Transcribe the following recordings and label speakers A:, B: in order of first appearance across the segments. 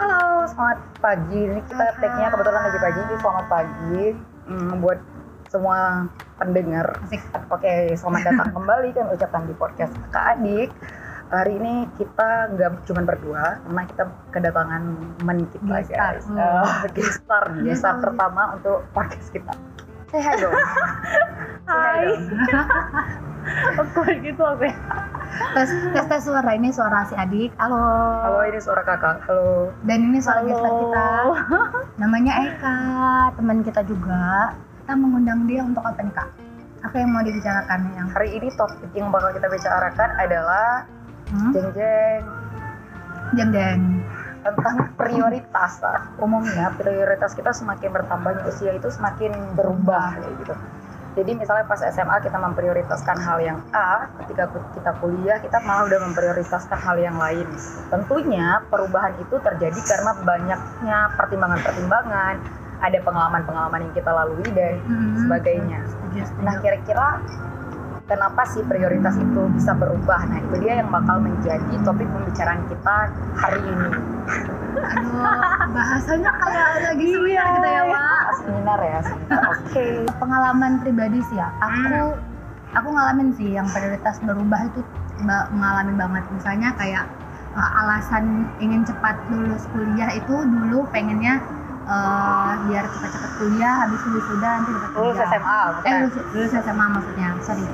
A: Selamat pagi. Ini kita tag-nya kebetulan lagi pagi. Jadi selamat pagi
B: Hmm.
A: mm, buat semua pendengar. Asik. Oke, selamat datang kembali kan ucapan di podcast Kak Adik. Hari ini kita nggak cuma berdua, karena kita kedatangan teman kita
B: Guest star.
A: guys.
B: Hmm.
A: Eh, guest star, nih, guest star
B: Guest star.
A: pertama untuk podcast kita.
B: Eh,
A: Say hi dong. Say
B: Hai.
A: dong.
B: aku gitu aku ya. Tes tes tes suara ini suara si adik. Halo.
A: Halo, ini suara kakak. Halo.
B: Dan ini suara
A: Halo.
B: gestar kita. Namanya Eka, teman kita juga. Kita mengundang dia untuk apa nih kak? Apa yang mau dibicarakan yang
A: Hari ini topik yang bakal kita bicarakan adalah
B: hmm?
A: jeng-jeng
B: jeng jeng.
A: tentang prioritas lah. umumnya prioritas kita semakin bertambahnya usia itu semakin berubah kayak gitu jadi misalnya pas SMA kita memprioritaskan hal yang A ketika ku- kita kuliah kita malah udah memprioritaskan hal yang lain tentunya perubahan itu terjadi karena banyaknya pertimbangan-pertimbangan ada pengalaman-pengalaman yang kita lalui dan
B: Hmm.
A: sebagainya
B: Setuju, setuju.
A: Nah, kira-kira kenapa sih prioritas itu bisa berubah? Nah, itu dia yang bakal menjadi topik pembicaraan kita hari ini.
B: Aduh, bahasanya kayak lagi
A: Iya.
B: seminar kita ya Wak.
A: Seminar ya, seminar. Oke.
B: pengalaman pribadi sih ya aku
A: Hmm.
B: aku ngalamin sih yang prioritas berubah itu ba- ngalamin banget misalnya kayak uh, alasan ingin cepat lulus kuliah itu dulu pengennya uh, biar cepat-cepat kuliah habis lulus sudah nanti dapat
A: Lulus
B: kerja.
A: SMA,
B: eh
A: bukan?
B: lulus, lulus SMA maksudnya sorry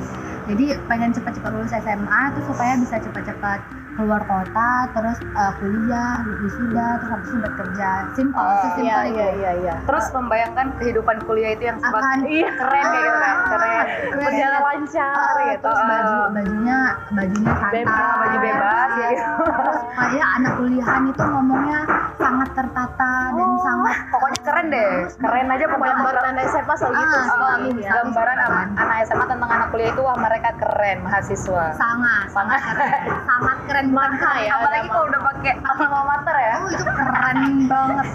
B: jadi pengen cepat-cepat lulus SMA tuh supaya bisa cepat-cepat keluar kota terus uh, kuliah wisuda terus habis itu dapat kerja simple sesimpel
A: iya,
B: itu
A: iya, iya, iya. Terus membayangkan kehidupan kuliah itu yang
B: Akan.
A: sebat- Iya, keren kayak gitu kan. Keren.
B: Keren.
A: Berjalan lancar
B: Oh,
A: gitu.
B: terus baju
A: Oh.
B: bajunya bajunya santai
A: Bebas, baju bebas, ya gitu.
B: terus kayak anak kuliahan itu ngomongnya sangat tertata dan
A: Oh,
B: sangat
A: pokoknya keren deh. Keren aja pokoknya
C: gambaran anak SMA selalu
B: Ah,
C: gitu sih.
A: Oh,
B: Misalnya gitu
A: gambaran
B: kan.
A: anak anak SMA tentang anak kuliah itu wah mereka keren mahasiswa.
B: sangat sangat keren sangat keren banget
C: ya,
A: Apalagi kalau udah pakai alma mater ya.
B: oh itu keren banget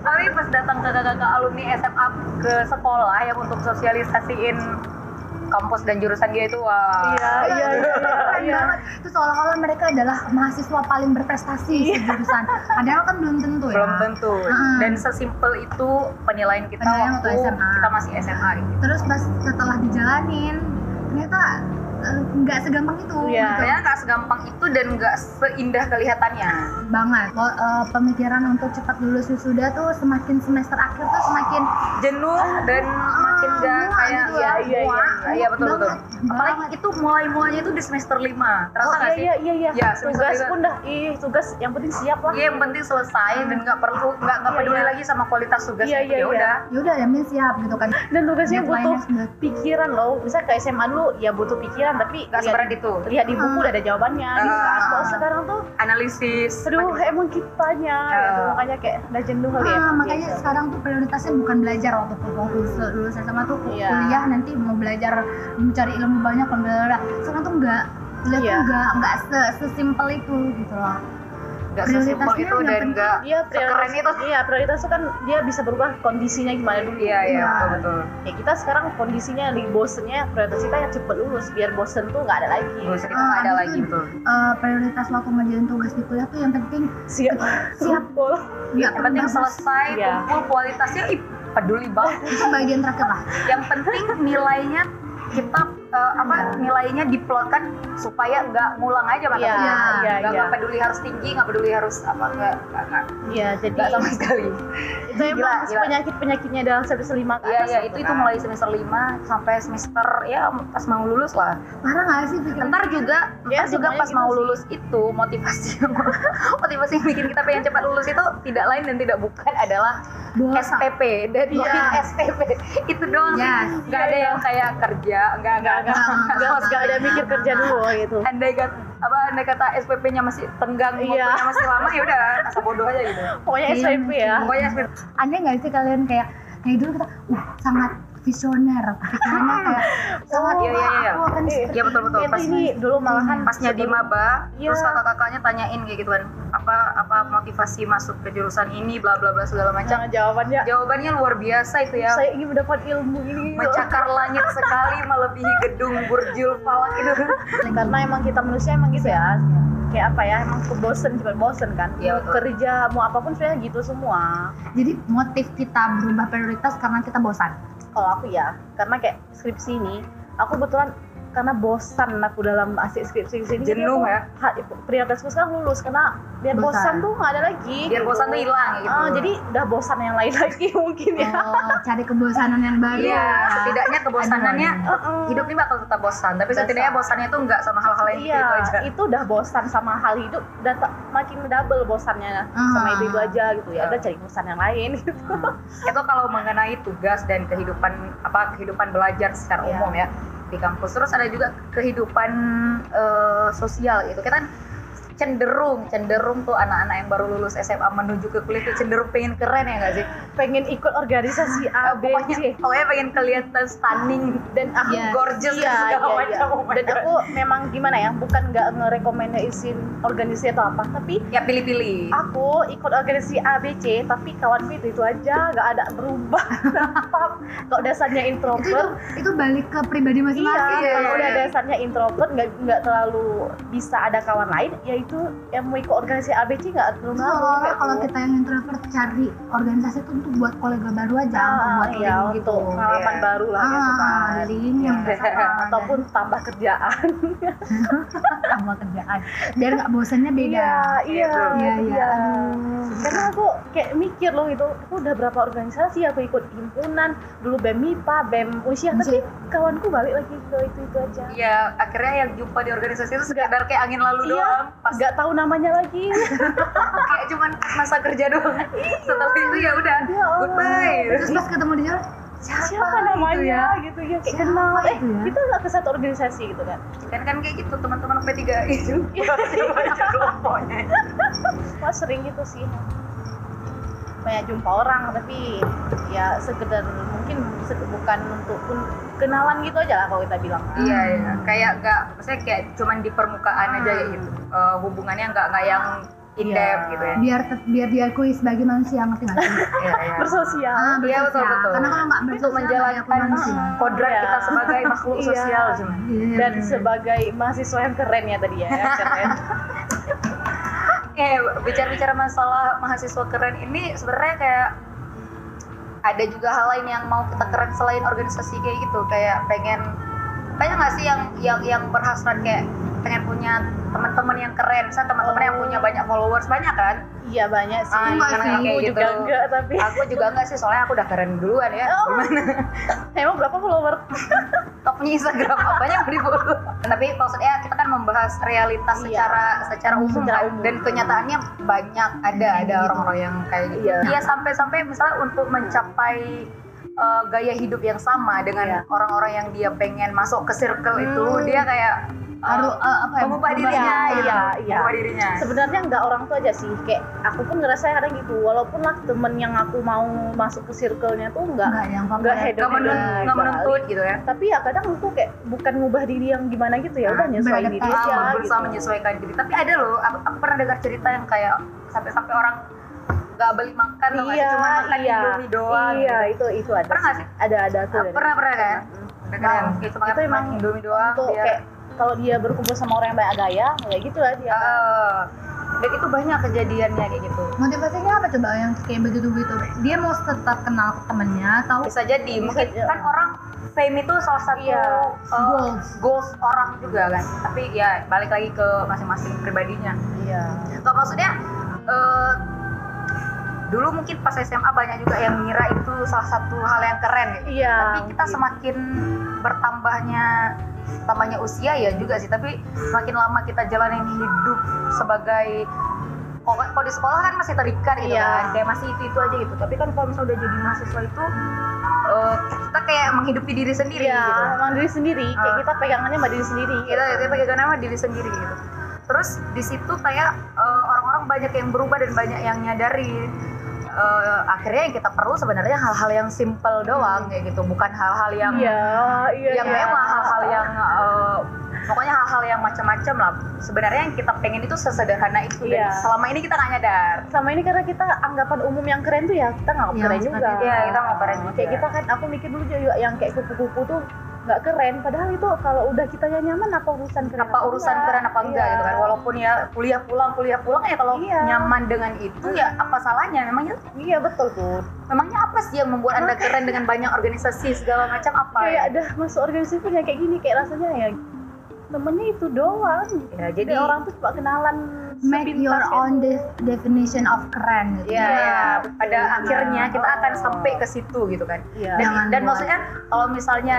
A: Tapi pas datang ke kakak-kakak alumni SMA ke sekolah yang untuk sosialisasiin kampus dan jurusan dia itu wah.
C: Iya, iya, iya,
B: keren
C: iya.
B: banget itu seolah-olah mereka adalah mahasiswa paling berprestasi di jurusan padahal kan belum tentu ya
A: Belum tentu.
B: Mm.
A: Dan sesimpel itu penilaian kita
B: Penilaian
A: waktu
B: waktu SMA.
A: kita masih SMA gitu.
B: terus pas setelah dijalanin ternyata eh, nggak segampang itu
C: Iya.
B: gitu.
A: Ternyata nggak segampang itu dan nggak seindah kelihatannya.
B: banget. Pol- eh, pemikiran untuk cepat lulus wisuda tuh semakin semester akhir tuh semakin
A: Jenuh dan makin nggak
B: muak
A: kayak
B: gitu
A: iya
B: lah,
A: iya iya.
B: muak,
A: Iya betul betul.
B: banget,
A: Apalagi
B: banget.
A: itu mulai-mulainya itu di semester 5. Terasa nggak sih?
C: iya, iya, iya.
A: Iya,
C: tugas
A: semester
C: pun dah, ih, tugas yang penting siap lah.
A: Iya yang penting selesai dan nggak perlu nggak nggak
C: Iya,
A: peduli
C: iya.
A: lagi sama kualitas tugasnya
C: Iya,
A: itu
C: iya,
A: ya
C: iya.
A: udah.
B: ya udah yang penting siap gitu kan.
C: Dan
A: ya,
C: tugasnya
B: Deadline-nya
C: butuh
B: sudah.
C: pikiran loh. Bisa ke SMA dulu ya butuh pikiran, tapi
A: Nggak seberat Ah. itu.
C: lihat di buku
B: Hmm.
C: udah ada jawabannya. gitu kan. Kalau sekarang tuh,
A: Analisis.
C: aduh, eh,
A: macam-
C: emang kitanya. gitu.
A: Ah.
C: Makanya kayak udah jenuh
A: Oh,
C: kali
B: Ah,
A: iya.
C: emang
B: makanya
C: gitu.
B: sekarang tuh prioritasnya bukan belajar waktu kuliah lulus, lulus SMA tuh
C: Iya.
B: kuliah nanti mau belajar mencari ilmu banyak pembelajaran. Sekarang tuh enggak Lihat
C: Iya.
B: tuh enggak enggak se- sesimpel itu gitu loh.
A: nggak sesimpel
B: prioritasnya
A: itu
B: yang
A: dan
B: penting.
A: nggak
C: Dia prioritas,
A: sekeren itu.
C: iya prioritas tuh kan dia bisa berubah kondisinya gimana
A: Iya
C: dulu.
A: iya
B: Iya.
A: betul betul.
C: Ya kita sekarang kondisinya lagi bosennya prioritas kita yang cepet lulus biar bosen tuh nggak ada lagi.
A: Gak usah kita
B: Ah,
A: nggak ada
B: habis
A: lagi
B: itu-
A: betul.
B: Eh, prioritas waktu ngerjain tugas di kuliah tuh yang penting
C: Siap, siap, Pol.
B: enggak
A: Iya, Yang penting
B: bagus.
A: selesai,
C: Iya.
A: kumpul kualitasnya ih, peduli banget.
B: itu bagian terakhir lah.
A: Yang penting nilainya kita eh, apa nilainya diplotkan supaya nggak ngulang aja
C: Iya,
A: matematika.
C: iya,
A: Nggak
C: iya.
A: nggak peduli harus tinggi, nggak peduli harus apa nggak nggak- nggak
C: Iya, jadi
A: nggak sama sekali.
C: itu
A: Gila,
C: emang
A: gila.
C: penyakit penyakitnya dalam semester lima ke
A: Iya
C: atas
A: iya itu itu
C: kan.
A: mulai semester 5 sampai semester ya pas mau lulus lah.
B: Parah enggak sih pikiran?
A: Ntar juga,
C: Ya,
A: ntar juga
C: semuanya
A: pas
C: gitu
A: mau
C: sih.
A: lulus itu motivasi yang motivasi yang bikin kita pengen cepat lulus itu tidak lain dan tidak bukan adalah
B: Bosan.
A: SPP dan
C: Iya.
A: SPP itu doang. sih.
B: Yes.
A: Iya, Nggak ada yang kayak kerja, nggak nggak nggak.
C: nggak nggak nggak
B: Nggak,
C: nggak ada
B: nggak,
C: mikir
B: nggak,
C: kerja
B: nggak.
C: dulu gitu
A: Andai kata apa andai kata SPP-nya masih tenggang,
C: Iya.
A: waktunya masih lama ya udah asa bodoh aja gitu.
C: pokoknya
B: Iya,
C: SMP ya
A: Pokoknya SPP
B: aneh nggak sih kalian kayak kayak dulu kita uh, sangat visioner pikirannya kayak sangat kan
A: Iya, iya, iya.
B: aku akan
C: Oh, Iya.
A: Iya betul betul.
C: itu
A: Pas
C: ini dulu malahan
A: pasnya di maba
C: Iya.
A: terus kakak-kakaknya tanyain kayak gitu kan apa apa motivasi masuk ke jurusan ini bla bla bla segala macam
C: jangan jawabannya
A: jawabannya luar biasa itu ya
C: Nah. saya ingin mendapat ilmu ini gitu.
A: mencakar langit sekali melebihi gedung burjul falak itu
C: karena emang kita manusia emang gitu ya kayak apa ya emang kebosen cepet bosen kan
A: Iya, betul.
C: kerja mau apapun sebenarnya gitu semua
B: Jadi motif kita berubah prioritas karena kita bosan.
C: kalau aku ya karena kayak skripsi ini aku kebetulan karena bosan aku dalam asik skripsi sini jadi
A: Jenuh
C: aku-
A: ya?
C: ha- prioritasku sekarang lulus karena biar
B: Bosan.
C: bosan, tuh nggak ada lagi
A: biar
C: gitu.
A: bosan tuh hilang gitu
C: Ah, jadi udah bosan yang lain lagi mungkin ya
B: Oh, cari kebosanan yang baru.
A: iya
B: ya.
A: setidaknya kebosanannya
B: Aduh,
C: Heeh.
A: hidup ini bakal tetap bosan tapi
C: Bosan.
A: setidaknya bosannya itu nggak sama hal-hal yang
C: iya,
A: itu aja
C: itu udah bosan sama hal hidup dan te- makin double bosannya
B: Ah.
C: sama itu, itu aja gitu ya.
A: Ah.
C: Udah cari bosan yang lain.
A: Hmm. itu kalau mengenai tugas dan kehidupan apa kehidupan belajar secara
C: Iya.
A: umum ya di kampus terus ada juga kehidupan eh, sosial gitu kita kan cenderung cenderung tuh anak-anak yang baru lulus SMA menuju ke kuliah tuh cenderung pengen keren ya nggak sih
C: Pengen ikut organisasi
A: Eh,
C: A, B,
A: pokoknya
C: C.
A: pokoknya pengen kelihatan stunning
C: Dan aku
B: Yes.
A: gorgeous
C: Nah, Iya,
A: dan segala
C: iya,
A: macam oh my
C: dan
A: God.
C: aku memang gimana ya, bukan nggak ngerekomendasiin organisasi atau apa, tapi
A: ya pilih-pilih
C: aku ikut organisasi A, B, C, tapi kawanku itu itu aja, nggak ada berubah. Tetap. Kalau dasarnya
B: Itu,
C: introvert,
B: itu itu balik ke pribadi masing-masing.
C: Iya,
A: Iya,
C: kalau
A: iya,
C: udah
A: iya.
C: dasarnya introvert nggak nggak terlalu bisa ada kawan lain, yaitu yang mau ikut organisasi ABC nggak terlalu
B: Terus
C: ngaruh,
B: seolah-olah
C: kayak
B: kalau
C: gitu.
B: kita yang introvert cari organisasi itu untuk buat kolega baru aja, untuk
C: ah,
B: buat
C: iya,
B: link gitu.
C: untuk pengalaman
A: Iya.
C: baru lah gitu
B: Ah,
C: kan.
B: link yang
A: Iya.
B: bersamaan.
C: Ataupun tambah kerjaan.
B: sama kerjaan. Biar nggak bosannya beda.
C: Iya, iya.
B: Iya,
C: itu
B: iya.
C: dia.
B: Aduh.
C: Karena aku kayak mikir loh itu, aku udah berapa organisasi aku ikut himpunan, dulu BEM MIPA, BEM Usia, tapi kawanku balik lagi ke itu-itu aja.
A: Iya, akhirnya yang jumpa di organisasi itu sekedar kayak angin lalu
C: Iya.
A: doang. Pas
C: Nggak tahu namanya lagi.
A: kayak cuman masa kerja doang.
C: Iya.
A: Setelah itu ya udah,
C: Ya Allah.
A: goodbye.
B: Terus pas ketemu di jalan, siapa,
C: siapa
B: itu ya?
C: namanya gitu ya, kayak
B: Siapa
C: kenal eh
B: itu ya?
C: kita nggak ke satu organisasi gitu kan
A: Kan kan kayak gitu teman-teman P3I juga banyak kelompoknya.
C: wah sering gitu sih banyak jumpa orang tapi ya sekedar mungkin se- bukan untuk pun- kenalan gitu aja lah kalau kita bilang kan.
A: Iya, iya. Kayak nggak, maksudnya kayak cuman di permukaan aja kayak gitu. Eh, hubungannya nggak nggak yang in
C: Iya.
A: depth gitu ya.
B: Biar te- biar diakui sebagai manusia ngerti nggak sih?
A: Iya, iya.
C: bersosial
A: Iya,
B: bersosial.
A: betul, betul.
B: Ah, Karena kalau nggak
A: Untuk
B: bersosial nggak
A: menjalankan
B: diakui manusia.
A: kodrat
C: Iya.
A: kita sebagai makhluk
C: Iya.
A: sosial cuman.
B: Iya,
C: dan
B: bener.
C: sebagai mahasiswa yang keren ya tadi ya keren
A: Oke, bicara-bicara masalah mahasiswa keren ini sebenarnya kayak ada juga hal lain yang mau kita keren selain organisasi kayak gitu, kayak pengen banyak nggak sih yang yang yang berhasrat kayak pengen punya teman-teman yang keren, saya teman-teman yang punya banyak followers banyak kan?
C: iya banyak sih
A: Ah,
B: enggak sih,
C: aku
A: kayak
C: juga
A: gitu.
C: enggak tapi
A: Aku juga enggak sih, soalnya aku udah keren duluan ya.
C: Oh.
A: Gimana?
C: emang berapa follower
A: Topnya Instagram apanya yang diburu? Tapi maksudnya kita kan membahas realitas
C: Iya.
A: secara secara umum,
C: Secara
A: kan?
C: umum.
A: dan kenyataannya banyak ada
B: Yang
A: ada
B: gitu.
A: orang-orang yang kayak gitu.
C: Iya.
A: Iya sampai-sampai misalnya untuk mencapai eh, gaya hidup yang sama dengan
C: Iya.
A: orang-orang yang dia pengen masuk ke circle itu,
C: Hmm.
A: dia kayak eh,
B: Harus eh, apa ya?
A: mengubah
B: berubah.
A: dirinya,
C: iya, iya.
A: mengubah dirinya.
C: sebenarnya nggak orang tua aja sih kayak aku pun ngerasa kadang gitu walaupun lah temen yang aku mau masuk ke circle-nya tuh nggak
B: Nggak yang ya.
C: Nggak
B: favorit.
C: head
A: Nggak menun-
C: Iya,
A: nggak
C: iya.
A: menuntut gitu ya.
C: tapi ya kadang aku kayak bukan ngubah diri yang gimana gitu ya udah nyesuaiin diri
B: Beradaptasi.
C: aja
A: Ah, berusaha
C: gitu.
A: menyesuaikan diri. Tapi ada loh, aku, aku pernah dengar cerita yang kayak sampai-sampai orang nggak beli makan, tau nggak sih?
C: iya
A: cuma makan
C: iya
A: indomie doang.
C: iya
A: gitu.
C: itu itu ada
A: Pernah nggak
C: sih. ada ada aku
A: Ah,
C: ada.
A: pernah pernah kan? Dengar
C: Nah,
A: yang kayak cuma
C: itu
A: makan
C: emang
A: indomie doang. iya.
C: untuk
A: biar-
C: kayak kalau dia berkumpul sama orang yang banyak gaya kayak gitu lah dia
A: Eh, dan itu banyak kejadiannya kayak gitu.
B: Motivasinya apa coba yang kayak begitu-begitu? Dia mau tetap kenal ke temennya atau
A: Bisa jadi,
C: Bisa
A: mungkin
C: jadi.
A: kan orang fame itu salah satu
C: Iya.
A: eh,
B: Goals.
A: goals orang juga kan. Tapi ya balik lagi ke masing-masing pribadinya.
C: iya
A: Gak maksudnya eh, dulu mungkin pas SMA banyak juga yang ngira itu salah satu hal yang keren ya.
C: Iya,
A: Tapi kita
C: mungkin.
A: semakin bertambahnya tambahnya usia ya juga sih. Tapi semakin lama kita jalanin hidup sebagai kalau kalau di sekolah kan masih terikat gitu
C: Iya.
A: kan, kayak masih itu itu aja gitu. Tapi kan kalau misalnya udah jadi mahasiswa itu eh, kita kayak menghidupi diri sendiri
C: iya
A: gitu
C: emang diri sendiri kayak
A: Ah.
C: kita pegangannya sama diri sendiri
A: kita kita Iya,
C: iya.
A: pakai nama diri sendiri gitu terus di situ kayak eh, orang-orang banyak yang berubah dan banyak yang nyadari eh, akhirnya yang kita perlu sebenarnya hal-hal yang simple doang kayak gitu bukan hal-hal yang
C: iya iya
A: yang
C: iya.
A: mewah hal-hal yang eh, pokoknya hal-hal yang macam-macam lah sebenarnya yang kita pengen itu sesederhana itu dan
C: Iya.
A: selama ini kita nggak nyadar
C: sama ini karena kita anggapan umum yang keren tuh ya kita nggak
B: Iya,
C: keren juga
A: iya, kita nggak keren juga.
C: kayak kita kan aku mikir dulu juga yang kayak kupu-kupu tuh nggak keren padahal itu kalau udah kitanya nyaman apa urusan keren
A: apa urusan keren apa enggak
C: Iya.
A: gitu kan walaupun ya kuliah pulang kuliah pulang ya kalau
C: Iya.
A: nyaman dengan itu ya apa salahnya memangnya
C: iya betul Bud
A: memangnya apa sih yang membuat anda keren dengan banyak organisasi segala macam apa
C: kayak ada masuk organisasi punya kayak gini kayak rasanya ya temennya itu doang
A: ya
C: jadi
A: jadi
C: orang tuh cuma kenalan
B: make
C: sepintas
B: your
C: gitu.
B: own de- definition of keren gitu.
A: ya, ya, pada
C: Iya.
A: akhirnya kita akan
C: Oh.
A: sampai ke situ gitu kan dan,
C: Iya.
B: Jangan
A: dan
B: buat-
A: maksudnya kalau misalnya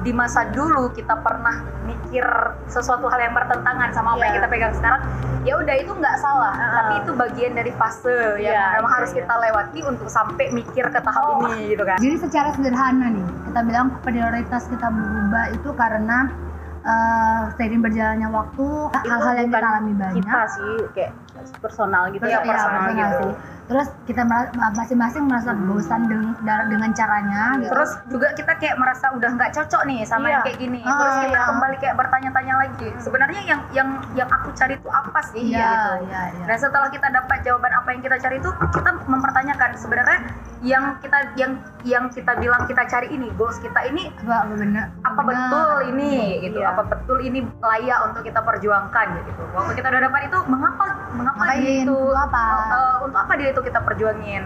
A: di masa dulu kita pernah mikir sesuatu hal yang bertentangan sama apa
C: Iya.
A: yang kita pegang sekarang ya udah itu nggak salah
C: Ah.
A: tapi itu bagian dari fase yang
C: Iya,
A: memang
C: iya,
A: harus
C: iya.
A: kita lewati untuk sampai mikir ke tahap
C: Oh.
A: ini gitu kan
B: Jadi secara sederhana nih, kita bilang prioritas kita berubah itu karena eh, seiring berjalannya waktu hal-hal yang kita
C: bukan
B: alami banyak.
C: kita sih kayak personal gitu
A: Iya,
B: Iya,
A: personal gitu.
B: sih. Terus kita merasa- masing-masing merasa
A: Hmm.
B: bosan deng- dar- dengan caranya gitu.
A: terus juga kita kayak merasa udah nggak cocok nih sama
C: Iya.
A: yang kayak gini
B: Ah,
A: terus kita
B: iya.
A: kembali kayak bertanya-tanya lagi sebenarnya yang yang yang aku cari itu apa sih
B: Iya,
A: gitu
B: iya, iya.
A: Dan setelah kita dapat jawaban apa yang kita cari itu, kita mempertanyakan sebenarnya yang kita yang yang kita bilang kita cari ini, goals kita ini
B: Apa bener?
A: apa
B: bener?
A: betul ini gitu,
C: Iya.
A: apa betul ini layak untuk kita perjuangkan gitu. Waktu kita udah dapat itu, mengapa mengapa
B: Ngapain?
A: dia itu
B: Untuk apa?
A: eh, untuk apa dia itu kita perjuangin?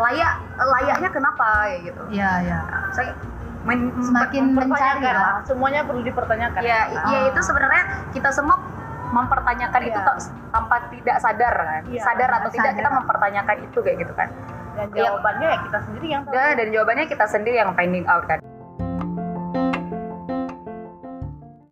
A: Layak layaknya kenapa ya gitu.
B: Iya, iya.
A: Saya men-
B: Semakin mencari lah.
C: Pertanyakan lah kan, semuanya perlu dipertanyakan
A: ya,
C: Nah,
A: ya
B: Ah.
A: itu sebenarnya kita semua mempertanyakan itu
C: Iya.
A: tak- tanpa tidak sadar kan
C: Iya,
A: sadar atau tidak
B: sadar.
A: kita mempertanyakan itu kayak gitu kan
C: dan jawabannya ya kita sendiri yang tahu
A: dan, dan jawabannya kita sendiri yang finding out kan